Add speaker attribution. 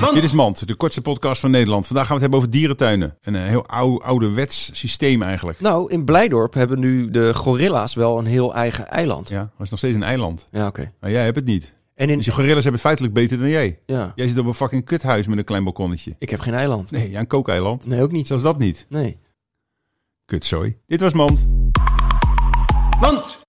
Speaker 1: Want-
Speaker 2: Dit is Mand, de kortste podcast van Nederland. Vandaag gaan we het hebben over dierentuinen. Een eh, heel oude, ouderwets systeem eigenlijk.
Speaker 1: Nou, in Blijdorp hebben nu de gorilla's wel een heel eigen eiland. Ja,
Speaker 2: Ja, maar het is nog steeds een eiland.
Speaker 1: oké.
Speaker 2: Maar jij hebt het niet.
Speaker 1: En in...
Speaker 2: Dus je gorillas hebben het feitelijk beter dan jij.
Speaker 1: Ja,
Speaker 2: Jij zit op een fucking kuthuis met een klein balkonnetje.
Speaker 1: ik heb geen eiland.
Speaker 2: Nee, ja, een kookeiland.
Speaker 1: Nee, ook niet.
Speaker 2: Zelfs dat niet.
Speaker 1: Nee.
Speaker 2: Kutzooi. Dit was Mand.
Speaker 1: Want...